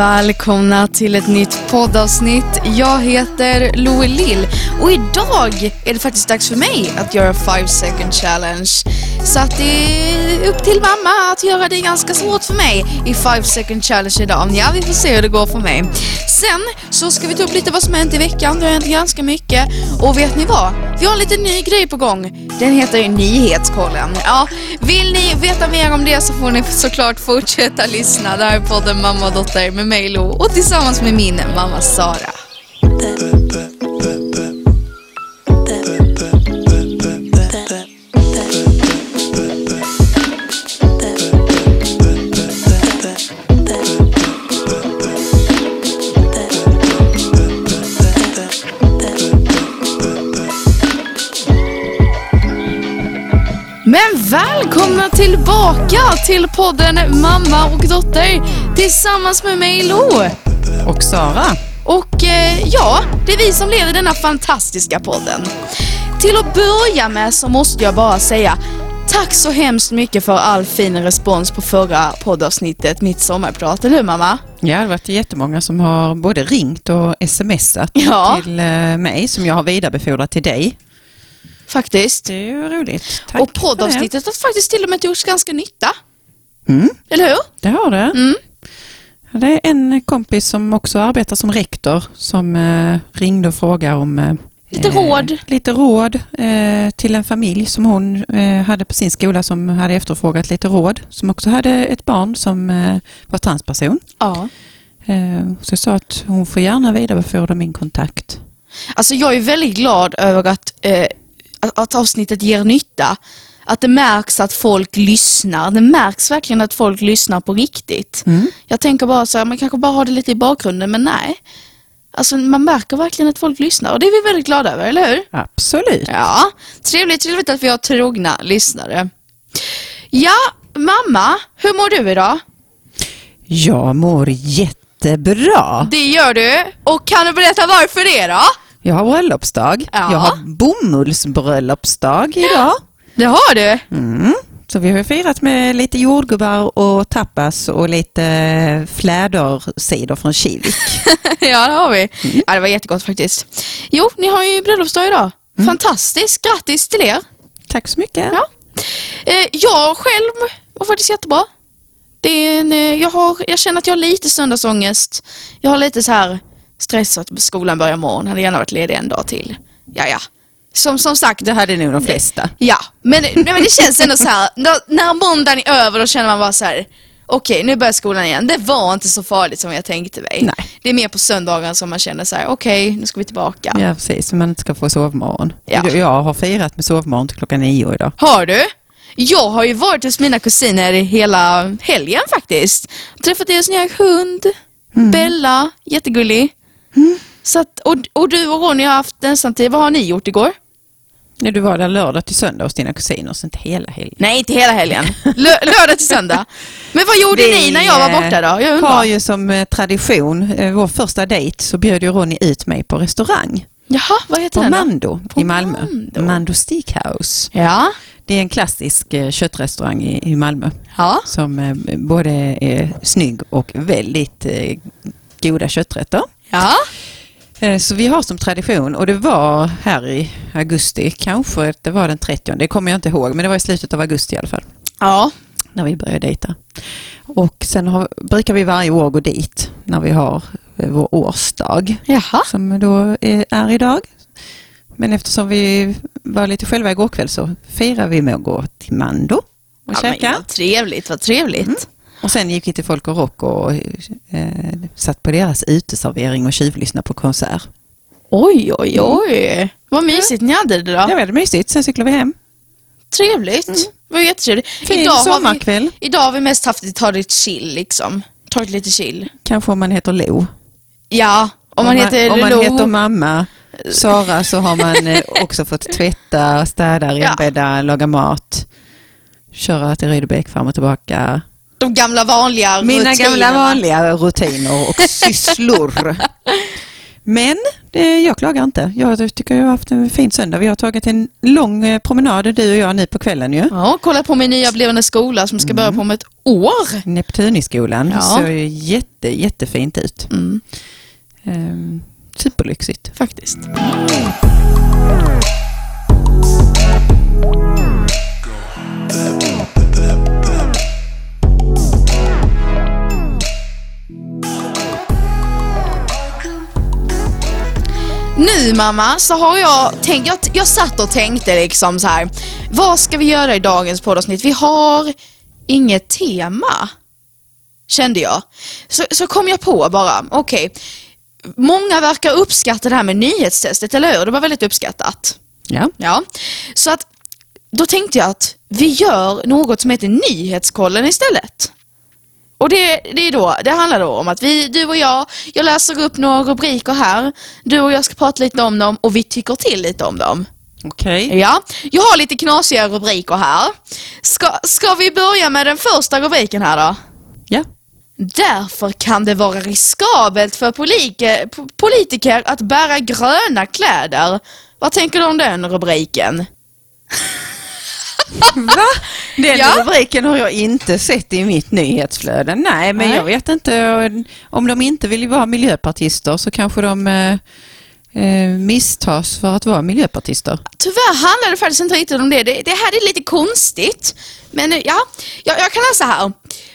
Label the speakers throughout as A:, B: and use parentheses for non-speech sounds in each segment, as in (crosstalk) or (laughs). A: Välkomna till ett nytt poddavsnitt. Jag heter Louie Lill och idag är det faktiskt dags för mig att göra 5 second challenge. Så att det är upp till mamma att göra det ganska svårt för mig i 5 second challenge idag. Men ja, vi får se hur det går för mig. Sen så ska vi ta upp lite vad som hänt i veckan. Det har hänt ganska mycket. Och vet ni vad? Vi har en liten ny grej på gång. Den heter ju Nyhetskollen. Ja, vill ni veta mer om det så får ni såklart fortsätta lyssna. Det här är podden Mamma och Dotter med mig Lo och tillsammans med min mamma Sara. Men välkomna tillbaka till podden Mamma och Dotter tillsammans med mig Lo.
B: Och Sara.
A: Och eh, ja, det är vi som leder denna fantastiska podden. Till att börja med så måste jag bara säga tack så hemskt mycket för all fin respons på förra poddavsnittet, mitt sommarprat, eller hur mamma?
B: Ja, det har varit jättemånga som har både ringt och smsat
A: Ja.
B: till eh, mig som jag har vidarebefordrat till dig.
A: Faktiskt.
B: Det är ju roligt. Tack
A: och
B: för
A: poddavsnittet har faktiskt till och med gjorts ganska nytta,
B: Det. Mm,
A: eller hur?
B: det har det.
A: Mm.
B: Det är en kompis som också arbetar som rektor som eh, ringde och frågade om eh,
A: Lite
B: eh,
A: råd.
B: lite råd eh, till en familj som hon eh, hade på sin skola som hade efterfrågat lite råd. Som också hade ett barn som eh, var transperson.
A: Ja.
B: Eh, så jag sa att hon får gärna vidarebefordra min kontakt.
A: Alltså jag är väldigt glad över att, eh, att, att avsnittet ger nytta. Att det märks att folk lyssnar. Det märks verkligen att folk lyssnar på riktigt. Jag tänker bara så här, man kanske bara har det lite i bakgrunden, men nej. Alltså man märker verkligen att folk lyssnar och det är vi väldigt glada över, eller hur?
B: Absolut.
A: Ja, trevligt, trevligt att vi har trogna lyssnare. Ja, mamma, hur mår du idag?
B: Jag mår jättebra.
A: Det gör du. Och kan du berätta varför det då?
B: Jag har bröllopsdag.
A: Ja.
B: Jag har bomullsbröllopsdag idag.
A: Det har du.
B: Mm. Så vi har firat med lite jordgubbar och tapas och lite flädersidor från Kivik.
A: (laughs) Ja, det har vi. Ja, det var jättegott faktiskt. Jo, ni har ju bröllopsdag idag. Fantastiskt, grattis till er.
B: Tack så mycket.
A: Ja. Eh, jag själv var faktiskt jättebra. Det är en, eh, jag, har, jag känner att jag har lite söndagsångest. Jag har lite så här stress att skolan börjar imorgon. Hade gärna varit ledig en dag till. Ja, ja. Som, som sagt,
B: Det hade nog de flesta.
A: Ja, men, nej, men det känns ändå så här. När, när måndagen är över då känner man bara så här. Okej, nu börjar skolan igen. Det var inte så farligt som jag tänkte mig.
B: Nej.
A: Det är mer på söndagen som man känner så här. Okej, nu ska vi tillbaka.
B: Ja, precis. Så man inte ska få sovmorgon.
A: Ja.
B: Jag har firat med sovmorgon till klockan nio idag.
A: Har du? Jag har ju varit hos mina kusiner hela helgen faktiskt. Träffat deras nya hund, Mm. Bella, jättegullig. Så att, och, och du och Ronny har haft ensamtid. Vad har ni gjort igår?
B: Ja, Du var där lördag till söndag hos dina kusiner, så inte hela helgen.
A: Nej, inte hela helgen. Lö- lördag till söndag. Men vad (laughs) gjorde ni när jag var borta då? Jag
B: Jag
A: undrar.
B: eh, har ju som eh, tradition, eh, vår första dejt, så bjöd ju Ronny ut mig på restaurang.
A: Jaha, vad heter
B: På
A: den då?
B: Mando
A: På
B: i Malmö.
A: Mando.
B: Mando, Steakhouse.
A: Ja.
B: Det är en klassisk eh, köttrestaurang i, i Malmö
A: ja.
B: som eh, både är snygg och väldigt eh, goda kötträtter.
A: Ja.
B: Eh, Så vi har som tradition och det var här i augusti, kanske det var den 30, det kommer jag inte ihåg, men det var i slutet av augusti i alla fall
A: Ja.
B: när vi börjar dejta. Och sen har, brukar vi varje år gå dit när vi har eh, vår årsdag.
A: Jaha.
B: som då är är idag. Men eftersom vi var lite själva igår kväll så firar vi med att gå till Mando och
A: Ja, men,
B: käka.
A: vad trevligt, vad trevligt.
B: Och sen gick vi till Folk och Rock och eh, satt på deras uteservering och tjuvlyssnade på konsert.
A: Oj, oj, oj. Vad mysigt ni hade Mm. det Mm. då.
B: Ja, det var mysigt. Sen cyklade vi hem.
A: Trevligt. Det var jättetrevligt.
B: Fin sommarkväll.
A: Har vi, idag har vi mest haft ta det chill liksom. Tagit lite chill.
B: Kanske om man heter Lo. Om
A: Ja, om man heter
B: om man
A: Lo.
B: heter mamma Sara så har man eh, också fått tvätta, städa, renbädda, laga mat, köra till Rydebäck fram och tillbaka.
A: de gamla vanliga
B: Mina
A: rutinerna. (laughs)
B: gamla vanliga rutiner och sysslor. Men det, jag klagar inte. Jag tycker jag har haft en fin söndag. Vi har tagit en lång eh, promenad du och jag nu på kvällen ju.
A: Ja, kolla på min nya blivande skola som ska börja på om ett år.
B: Neptuniskolan
A: Ja.
B: såg ju jätte, jättefint ut.
A: Mm.
B: Ehm, superlyxigt.
A: Faktiskt. Nu mamma, så har jag tänkt, jag, jag satt och tänkte liksom så här. Vad ska vi göra i dagens poddavsnitt? Vi har inget tema, kände jag. Så, så kom jag på bara, okej. Många verkar uppskatta det här med nyhetstestet, eller hur? Det var väldigt uppskattat.
B: Ja.
A: Ja. Så att, då tänkte jag att vi gör något som heter Nyhetskollen istället. Och det, det, är då, det handlar då om att vi, du och jag, jag läser upp några rubriker här. Du och jag ska prata lite om dem och vi tycker till lite om dem.
B: Okej.
A: Ja, jag har lite knasiga rubriker här. Ska, ska vi börja med den första rubriken här då?
B: Ja.
A: Därför kan det vara riskabelt för polike, po- politiker att bära gröna kläder. Vad tänker du om den rubriken?
B: Va? Den
A: Ja.
B: rubriken har jag inte sett i mitt nyhetsflöde. Nej, men
A: Nej.
B: jag vet inte. Om de inte vill vara miljöpartister så kanske de eh, eh, misstas för att vara miljöpartister.
A: Tyvärr handlar det faktiskt inte riktigt om det. Det, det här är lite konstigt. Men eh, ja, jag, jag kan läsa här.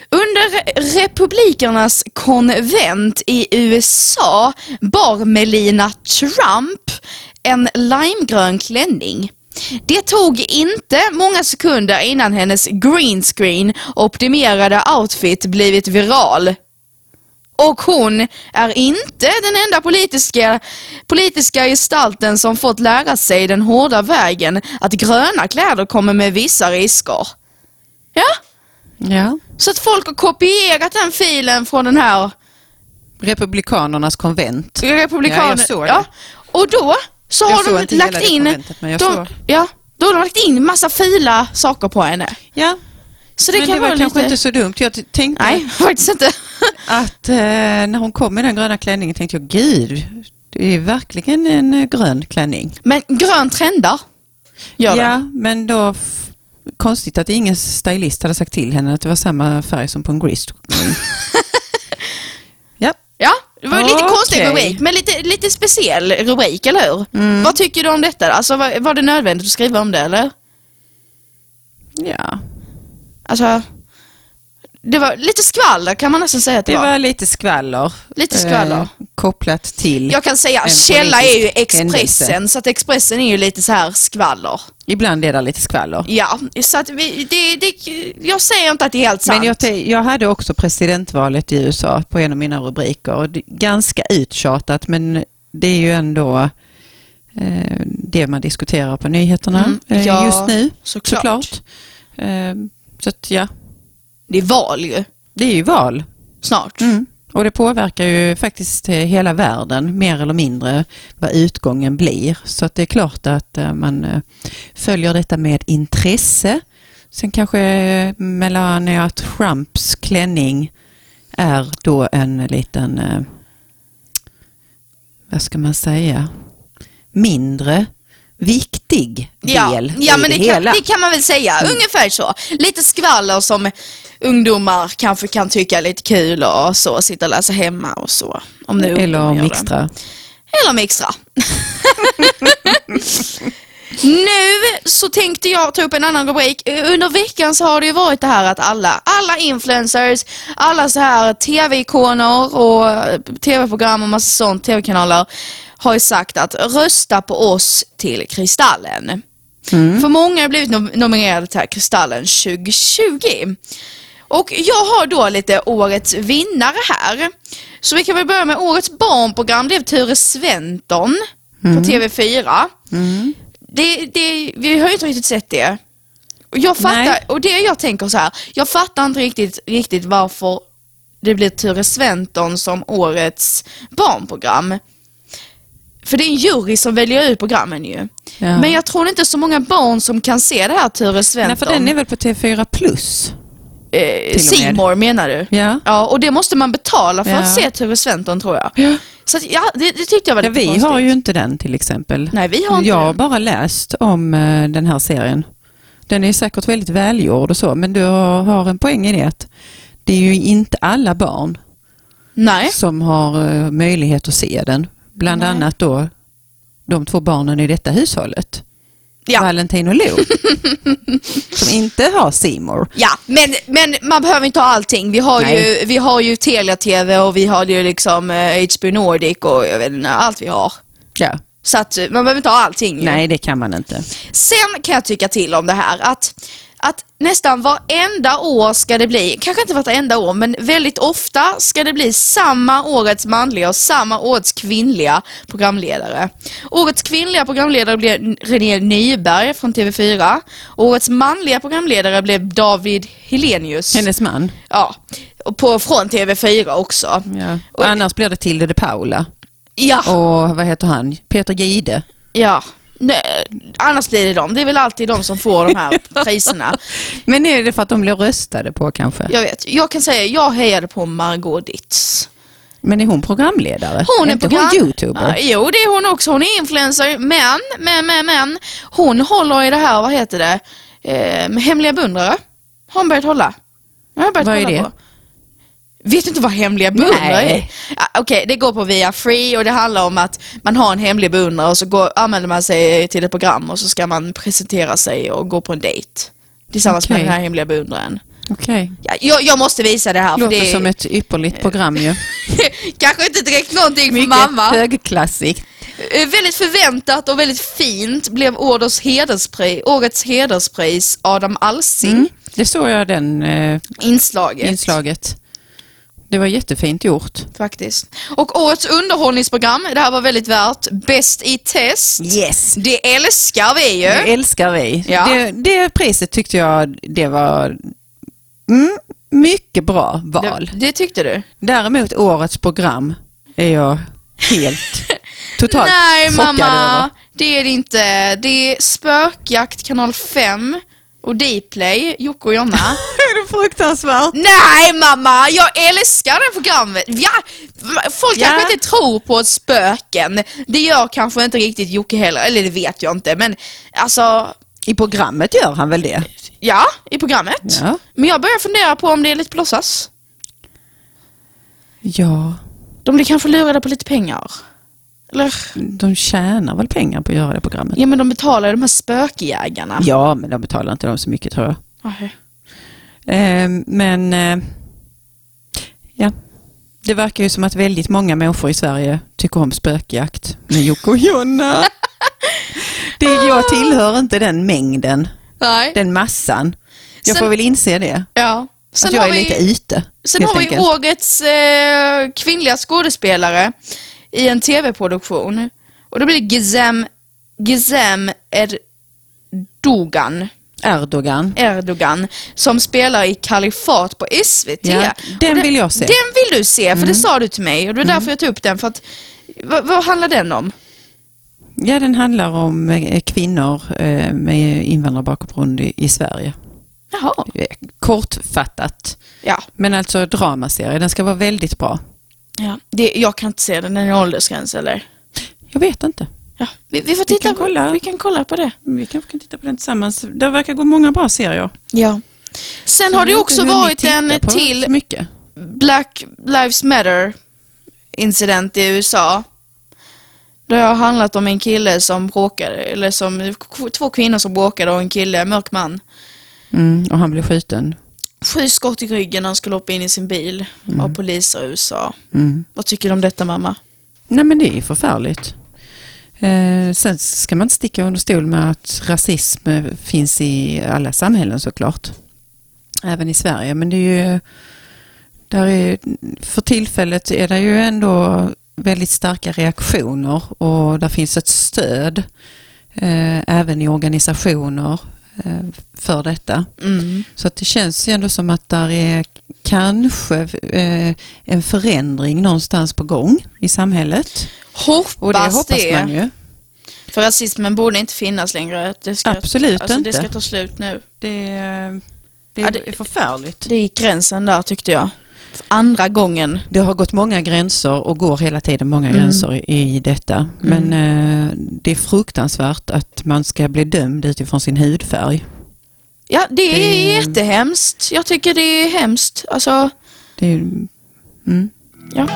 A: Under republikernas konvent i USA bar Melina Trump en limegrön klänning. Det tog inte många sekunder innan hennes green screen optimerade outfit blivit viral. Och hon är inte den enda politiska, politiska gestalten som fått lära sig den hårda vägen att gröna kläder kommer med vissa risker. Ja,
B: Ja.
A: så att folk har kopierat den filen från den här
B: Republikanernas konvent.
A: republikanen.
B: Ja, jag såg det.
A: Och då så
B: Jag
A: har
B: såg inte
A: de
B: hela
A: lagt
B: det
A: in,
B: konventet, men jag
A: de,
B: såg.
A: ja, då har de lagt in massa fula saker på henne.
B: Ja,
A: Så det
B: men
A: kan
B: det var
A: vara
B: kanske
A: lite...
B: inte så dumt. Jag t- tänkte
A: Nej, (laughs) faktiskt inte.
B: att eh, när hon kom i den gröna klänningen tänkte jag, gud, det är verkligen en eh, grön klänning.
A: Men grön trendar. Gör den.
B: ja, men då f- konstigt att ingen stylist hade sagt till henne att det var samma färg som på
A: (laughs)
B: en grist. ja,
A: Ja, det var ju lite
B: Okej.
A: konstig rubrik, men lite, lite speciell rubrik, eller hur?
B: Mm.
A: Vad tycker du om detta? Alltså, var, var det nödvändigt att skriva om det, eller?
B: ja.
A: Alltså, det var lite skvaller kan man nästan säga att det,
B: Det
A: var.
B: var lite skvaller. eh,
A: Lite skvaller.
B: kopplat till.
A: Jag kan säga,
B: En
A: källa är ju
B: politisk
A: Expressen,
B: händelse.
A: så att Expressen är ju lite så här skvaller.
B: Ibland är det lite skvaller.
A: Ja, så att vi, det, det, jag säger inte att det är helt sant.
B: Men jag, te- jag hade också presidentvalet i USA på en av mina rubriker. Och det är ganska uttjatat men det är ju ändå eh, det man diskuterar på nyheterna
A: Mm,
B: eh,
A: ja,
B: just nu.
A: såklart.
B: Eh, så att, ja,
A: det är val ju,
B: det är ju val.
A: snart.
B: Mm. Och det påverkar ju faktiskt eh, hela världen mer eller mindre vad utgången blir. Så att det är klart att eh, man eh, följer detta med intresse. Sen kanske eh, Melania Trumps klänning är då en liten, eh, vad ska man säga, mindre viktig
A: Ja,
B: del
A: ja
B: i
A: men det,
B: det, hela. Mm.
A: kan, det kan man väl säga. Ungefär så. Lite skvaller som ungdomar kanske kan tycka är lite kul och så, sitta och läsa hemma och så. Om nu
B: Eller
A: ungdomar
B: om
A: gör det.
B: extra.
A: Eller mixtra. (laughs) nu så tänkte jag ta upp en annan rubrik. Eh, Under veckan så har det ju varit det här att alla, alla influencers, alla så här tv-ikoner och eh, tv-program och massa sånt, tv-kanaler har ju sagt att rösta på oss till Kristallen. För många har blivit nom- nominerade till Kristallen 2020. Och jag har då lite årets vinnare här. Så vi kan väl börja med årets barnprogram. Det är Ture Sventon på TV4. Det, det, vi har ju inte riktigt sett det. Och Jag fattar,
B: Nej.
A: och det jag tänker så här, jag fattar inte riktigt, riktigt varför det blir Ture Sventon som årets barnprogram. För det är en jury som väljer ut programmen ju.
B: Ja.
A: Men jag tror inte så många barn som kan se det här Ture
B: Nej, för
A: Sventon.
B: den är väl på TV4 plus?
A: Eh,
B: till och med.
A: C More menar du?
B: Ja.
A: Ja, och det måste man betala för
B: Ja.
A: att se Ture Sventon tror jag.
B: Ja.
A: Så att, ja, det, det tyckte jag var
B: Ja,
A: lite
B: vi
A: konstigt.
B: har ju inte den till exempel.
A: Nej, vi har inte
B: jag har
A: det.
B: bara läst om eh, den här serien. Den är säkert väldigt välgjord och så, men du har har en poäng i det. att Det är ju inte alla barn
A: Nej,
B: som har eh, möjlighet att se den. Bland
A: Nej.
B: annat då de två barnen i detta hushållet.
A: ja.
B: Valentin
A: (laughs)
B: och Lou. som inte har Seymour.
A: ja. Men, men man behöver inte ha allting. Vi har,
B: Nej.
A: ju, vi har ju Telia-TV och vi har ju liksom eh, HBO Nordic och jag vet inte, allt vi har.
B: Ja.
A: Så att eh, man behöver inte ha allting. ju.
B: Nej, det kan man inte.
A: Sen kan jag tycka till om det här att, att nästan varenda år ska det bli, kanske inte vartenda år, men väldigt ofta ska det bli samma årets manliga och samma årets kvinnliga programledare. Årets kvinnliga programledare blev René Nyberg från TV4. Årets manliga programledare blev David Helenius.
B: Hennes man.
A: Ja, och på, från TV4 också.
B: Ja.
A: Och-
B: Och annars blir det Tilde de Paula.
A: Ja.
B: Och vad heter han? Peter Gide.
A: ja. Nej, annars blir det dem. Det är väl alltid de som får de här
B: (laughs)
A: priserna.
B: Men är det för att de blir röstade på kanske?
A: Jag vet. Jag kan säga, jag hejade på Margot Ditz.
B: Men är hon programledare?
A: Hon är
B: inte
A: program...
B: hon youtuber?
A: Ja, jo, det är hon också. Hon är influencer. Men, men, men, men. Hon håller i det här, vad heter det? Eh, hemliga beundrare. Har hon börjat hålla. Jag har börjat
B: Vad är
A: kolla
B: det?
A: På. Vet du inte vad hemliga beundrare är?
B: Nej.
A: Ja, Okej, det går på via free och det handlar om att man har en hemlig beundrare och så går, använder man sig till ett program och så ska man presentera sig och gå på en dejt. Tillsammans
B: Okej.
A: med den här hemliga beundraren.
B: Okej.
A: Ja, jag, jag måste visa det här.
B: Låter
A: för det är...
B: som ett ypperligt program ju.
A: Kanske inte direkt någonting för (laughs) mamma.
B: högklassigt.
A: Eh, Väldigt förväntat och väldigt fint blev årets hederspris, årets hederspris Adam Alsing
B: Mm. Det såg jag den eh,
A: inslaget.
B: inslaget. Det var jättefint gjort.
A: Faktiskt. Och årets underhållningsprogram, det här var väldigt värt, Bäst i test.
B: Yes!
A: Det älskar vi ju.
B: Det älskar vi.
A: Ja.
B: Det, det priset tyckte jag det var mm, mycket bra val.
A: det, det tyckte du?
B: Däremot årets program är jag
A: (laughs)
B: helt totalt
A: Nej
B: chockad över.
A: (laughs)
B: (laughs)
A: mamma, det är det inte. Det är Spökjakt kanal 5 och Dplay, Jocke och Jonna.
B: Är det fruktansvärt?
A: Nej mamma, jag älskar det programmet. Ja, folk
B: Ja.
A: kanske inte tror på spöken. Det gör kanske inte riktigt Jocke heller, eller det vet jag inte. Men alltså,
B: I programmet gör han väl det?
A: ja, i programmet.
B: Ja.
A: Men jag börjar fundera på om det är lite på låtsas.
B: Ja,
A: De blir kanske lurade på lite pengar. Eller?
B: de tjänar väl pengar på att göra det programmet?
A: Ja men de betalar ju de här spökjägarna.
B: Ja, men de betalar inte dem så mycket tror jag.
A: Okej.
B: Eh, Men eh, ja, det verkar ju som att väldigt många människor i Sverige tycker om spökjakt med Jocke och (laughs) Jonna. Det, jag tillhör inte den mängden,
A: Nej.
B: den massan.
A: Sen-
B: Jag får väl inse det.
A: Ja.
B: Att
A: Sen
B: jag
A: har
B: är
A: vi,
B: lite ute,
A: sen
B: helt
A: har vi
B: enkelt.
A: årets eh, kvinnliga skådespelare i en tv-produktion. Och då blir det Gizem, Gizem Erdogan,
B: Erdogan.
A: Erdogan som spelar i Kalifat på SVT.
B: Ja, den
A: Och
B: vill jag se. Mm.
A: Den vill du se, för det sa du till mig och det är därför jag tog upp den. För att, vad, vad handlar den om?
B: Ja, den handlar om eh, kvinnor eh, med invandrarbakgrund i i Sverige.
A: Jaha.
B: Eh, Kortfattat.
A: Ja.
B: Men alltså dramaserie, den ska vara väldigt bra.
A: ja. Det, jag kan inte se den, den är åldersgräns eller?
B: Jag vet inte.
A: Ja. Vi, vi får titta
B: kan
A: på-
B: kolla.
A: vi kan kolla på det.
B: Vi kanske kan titta på den tillsammans. Det verkar gå många bra serier.
A: Ja. Sen har det också varit en till
B: mycket.
A: Black Lives Matter incident i USA. Det har handlat om en kille som bråkade, eller som två kvinnor som bråkade och en kille, en mörk man.
B: Mm, och han blev skjuten.
A: Sju skott i ryggen när han skulle hoppa in i sin bil av poliser i USA.
B: Mm.
A: Vad tycker du om detta mamma?
B: Nej men det är ju förfärligt. Eh, sen ska man inte sticka under stol med att rasism eh, finns i alla samhällen såklart. Även i Sverige. Men det är ju, där är, för tillfället är det ju ändå väldigt starka reaktioner och där finns ett stöd eh, även i organisationer eh, för detta.
A: Mm.
B: Så att det känns ju ändå som att där är kanske eh, en förändring någonstans på gång i samhället.
A: Hoppas
B: Och det hoppas man ju.
A: För rasismen borde inte finnas längre. Det ska,
B: Absolut
A: alltså, Det
B: inte.
A: ska ta slut nu.
B: Det, det
A: Ja, det-
B: är förfärligt.
A: Det gick gränsen där tyckte jag. andra gången.
B: Det har gått många gränser och går hela tiden många gränser i- i detta. Men eh, det är fruktansvärt att man ska bli dömd utifrån sin hudfärg.
A: Ja, det är
B: Det-
A: jättehemskt. Jag tycker det är hemskt. Alltså,
B: Det är, ju- mm.
A: ja.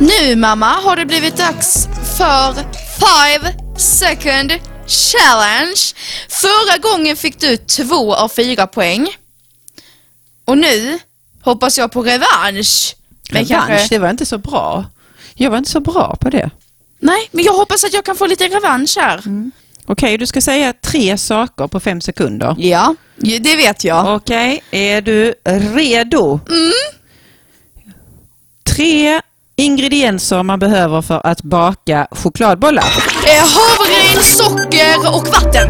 A: Nu mamma har det blivit dags för five second challenge. Förra gången fick du två av fyra poäng. Och nu hoppas jag på revansch. Men
B: Revansch,
A: kanske-
B: det var inte så bra. Jag var inte så bra på det.
A: Nej, men jag hoppas att jag kan få lite revansch här.
B: Mm. Okej, du ska säga tre saker på fem sekunder.
A: Ja, ju- det vet jag.
B: Okej, är du redo? Tre ingredienser man behöver för att baka chokladbollar.
A: Eh, havre, socker och vatten.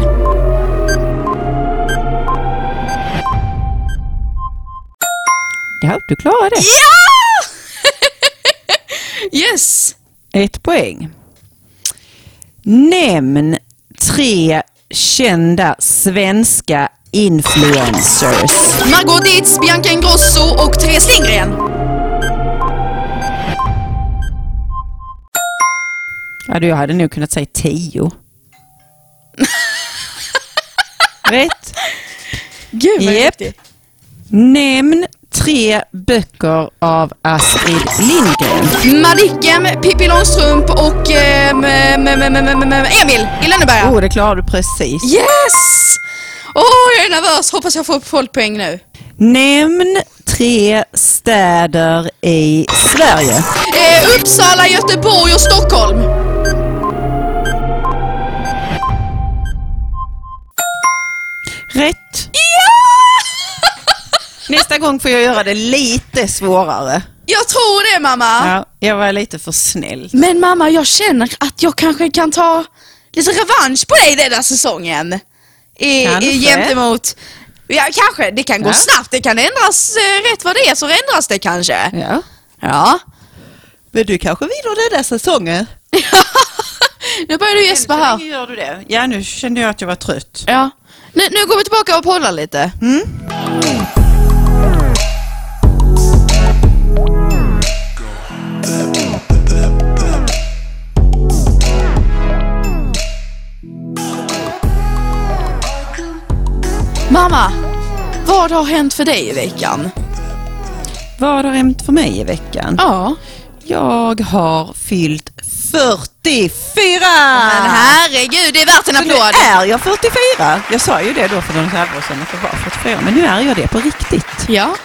B: Ja, du klarar det.
A: Yes!
B: Ett poäng. Nämn tre kända svenska influencers.
A: Margot Dietz, Bianca Ingrosso och Therese Lindgren.
B: Ja, du, jag hade nog kunnat säga tio. (laughs) Rätt.
A: Gud
B: vad duktig. Nämn tre böcker av Astrid Lindgren.
A: Madicken, Pippi Långstrump och ehm, ehm, ehm, ehm, ehm, ehm, Emil i Lönneberga.
B: Åh, Oh, det klarade du precis.
A: Yes! Åh, jag är nervös. Hoppas jag får folkpoäng nu.
B: Nämn tre städer i Sverige.
A: Eh, Uppsala, Göteborg och Stockholm.
B: Rätt. (laughs) Nästa gång får jag göra det lite svårare.
A: Jag tror det mamma.
B: Ja, jag var lite för snäll.
A: Men mamma, jag känner att jag kanske kan ta lite revansch på dig denna säsongen. I,
B: Kanske.
A: i, gentemot... Ja, kanske. Det kan gå
B: Ja.
A: snabbt. Det kan ändras eh, rätt vad det är så ändras det kanske.
B: Ja.
A: Ja.
B: Men du kanske vinner den där säsongen?
A: Nu börjar du gäspa här.
B: gör du det? Ja, nu kände jag att jag var trött.
A: Ja. Nu, nu går vi tillbaka och pollar lite. Mamma, vad har hänt för dig i veckan?
B: Vad har hänt för mig i veckan?
A: Ja.
B: Jag har fyllt 44! Ah.
A: Men herregud, det är värt en
B: Så nu
A: applåd.
B: är jag 44. Jag sa ju det då för något halvår sedan att jag var 44, men nu är jag det på riktigt.
A: Ja.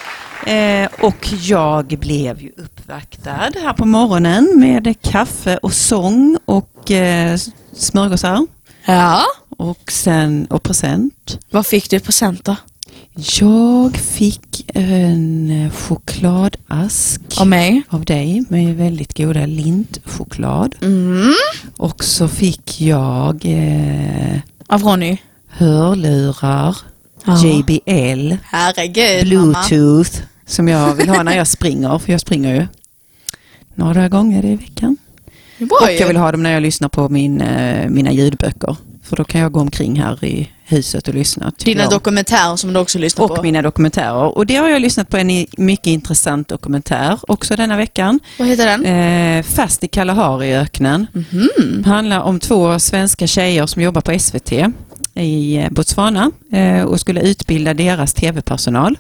B: Eh, och jag blev ju uppvaktad här på morgonen med kaffe och sång och eh, s- smörgåsar
A: Ja.
B: och, sen, och present.
A: Vad fick du i procent då?
B: Jag fick en chokladask
A: Av mig?
B: av dig med väldigt goda lintchoklad.
A: Mm.
B: Och så fick jag eh,
A: Av Ronny?
B: hörlurar,
A: Ja.
B: JBL,
A: Herregud Eh, mamma.
B: Bluetooth som jag vill ha när jag springer, för jag springer ju några gånger i veckan.
A: Det var
B: Och
A: ju.
B: jag vill ha dem när jag lyssnar på min, eh, mina ljudböcker. För då kan jag gå omkring här i huset och lyssna. tycker
A: Dina
B: jag.
A: dokumentärer som du också lyssnar på.
B: och mina dokumentärer. Och det har jag lyssnat på en i- mycket intressant dokumentär också denna veckan.
A: Vad heter den?
B: Eh, fast i Kalahariöknen. mm handlar om två svenska tjejer som jobbar på SVT i eh, Botswana eh, och skulle utbilda deras tv-personal.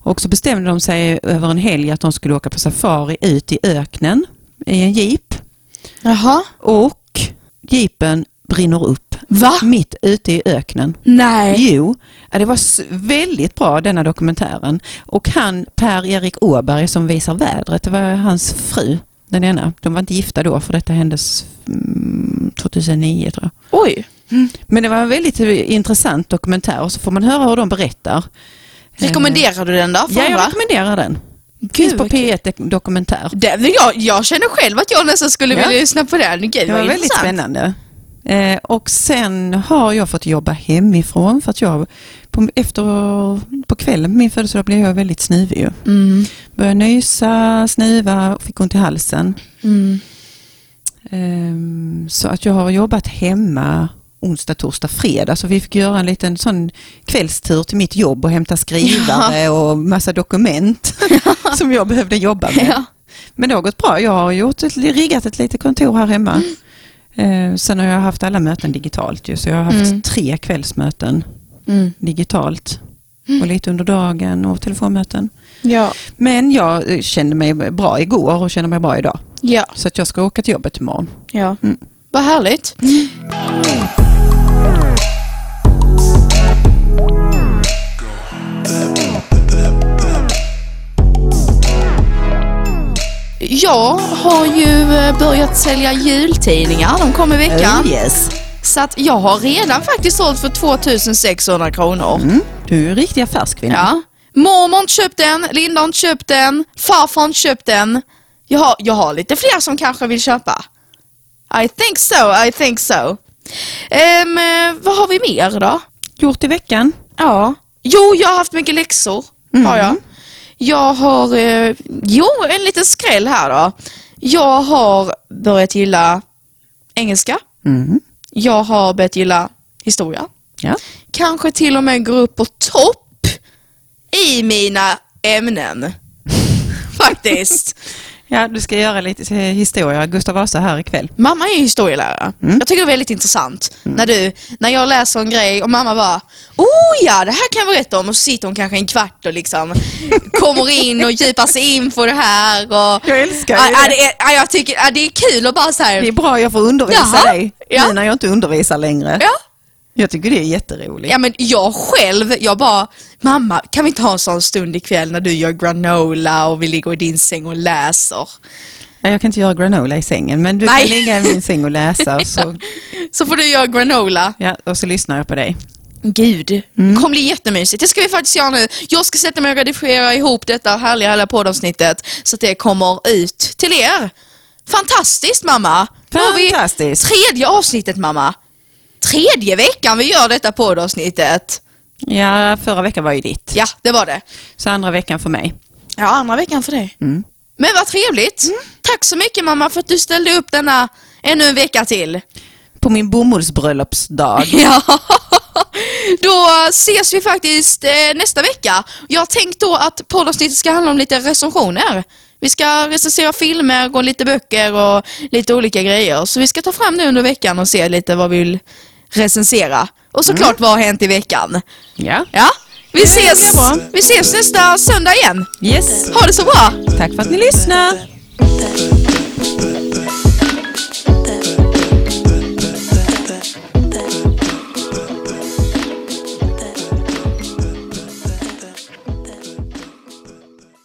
B: Och så bestämde de sig över en helg att de skulle åka på safari ut i öknen i en jeep
A: Jaha.
B: och jeepen brinner upp
A: Va?
B: mitt ute i öknen.
A: Nej.
B: Jo, ja, det var s- väldigt bra denna dokumentären. Och han Per-Erik Åberg som visar vädret, det var hans fru, den ena. De var inte gifta då för detta händes mm, 2009 tror jag.
A: Oj.
B: Men det var en väldigt eh, intressant dokumentär och så får man höra hur de berättar. Eh,
A: Rekommenderar du den då? för
B: Ja, jag
A: andra?
B: rekommenderar den. Finns på
A: vad kul.
B: P1 dok- Dokumentär.
A: Den, vill jag, jag känner själv att jag nästan skulle
B: Ja.
A: vilja lyssna på den. Gud,
B: Det var väldigt
A: intressant.
B: spännande. Eh, och sen har jag fått jobba hemifrån för att jag på, efter, på kvällen på min födelsedag blev jag väldigt snuvig. ju.
A: Mm.
B: Började nysa, snuva och fick ont i halsen.
A: Mm.
B: Ehm, Så att jag har jobbat hemma onsdag, torsdag, fredag. Så vi fick göra en liten sån kvällstur till mitt jobb och hämta skrivare och
A: (laughs)
B: massa dokument (laughs) som jag behövde jobba med.
A: Ja.
B: Men det har gått bra. Jag har gjort ett, riggat ett litet kontor här
A: Mm.
B: hemma. Eh, sen har jag haft alla möten digitalt ju, så jag har haft
A: Mm.
B: tre kvällsmöten
A: Mm.
B: digitalt. Och lite under dagen och telefonmöten.
A: Ja.
B: Men jag eh, kände mig bra igår och känner mig bra idag.
A: Ja.
B: Så att jag ska åka till jobbet imorgon.
A: Ja.
B: Mm.
A: Vad härligt. Jag har ju eh, börjat sälja jultidningar. De kom i veckan.
B: Oh, yes.
A: Så att jag har redan faktiskt sålt för 2600 kronor.
B: Mm. Du är en riktig affärskvinna.
A: Ja. Mormor har inte köpt den, Linda har inte köpt den, farfar har inte köpt den. Jag har, jag har lite fler som kanske vill köpa. I think so, I think so. Ehm, eh, vad har vi mer då?
B: Gjort i veckan.
A: Ja. Jo, jag har haft mycket läxor. Har jag. Jag har... Eh, jo, en liten skräll här då. Jag har börjat gilla engelska.
B: Mm.
A: Jag har börjat gilla historia.
B: Ja.
A: Kanske till och med går upp på topp i mina
B: (laughs)
A: ämnen. Faktiskt.
B: ja, du ska göra lite eh, historia. Gustav Vasa här ikväll.
A: Mamma är ju historielärare.
B: Mm.
A: Jag tycker det är väldigt intressant när du, när jag läser en grej och mamma bara Oh ja, det här kan jag berätta om och så sitter hon kanske en kvart och
B: (laughs)
A: liksom kommer in och djupar sig in på det här. Och,
B: Jag älskar ju
A: ja, ja,
B: det.
A: det. Är, ja, jag tycker, ja, det är kul att bara så här,
B: Det är bra, jag får undervisa
A: Jaha.
B: dig
A: Ja.
B: nu när jag inte undervisar längre.
A: ja,
B: Jag tycker det är jätteroligt.
A: Ja men jag själv, jag bara, mamma kan vi inte ha en sån stund ikväll när du gör granola och vi ligger i din säng och läser?
B: Ja. Jag kan inte göra granola i sängen, men du
A: Nej.
B: kan ligga i min säng och läsa
A: (laughs)
B: och så,
A: Så får du göra granola.
B: ja, och så lyssnar jag på dig.
A: Gud, Mm. det kommer bli jättemysigt. Det ska vi faktiskt göra nu. Jag ska sätta mig och redigera ihop detta härliga, härliga poddavsnittet så att det kommer ut till er. Fantastiskt mamma! Nu har vi
B: Fantastiskt!
A: Tredje avsnittet mamma! Tredje veckan vi gör detta poddavsnittet.
B: Ja, förra veckan var ju ditt,
A: Ja, det var det.
B: så andra veckan för mig.
A: Ja, andra veckan för dig. Mm.
B: Mm.
A: Men vad trevligt. Tack så mycket mamma för att du ställde upp denna ännu en vecka till.
B: På min bomullsbröllopsdag.
A: (laughs) Ja. Då ses vi faktiskt eh, nästa vecka. Jag har tänkt då att poddavsnittet ska handla om lite recensioner. Vi ska recensera filmer och lite böcker och lite olika grejer. Så vi ska ta fram nu under veckan och se lite vad vi vill recensera. Och såklart vad har hänt i veckan.
B: Ja.
A: Ja, vi
B: blir
A: ses,
B: bra.
A: vi ses nästa söndag igen.
B: Yes.
A: Ha det så bra!
B: Tack för att ni lyssnar.
C: Thank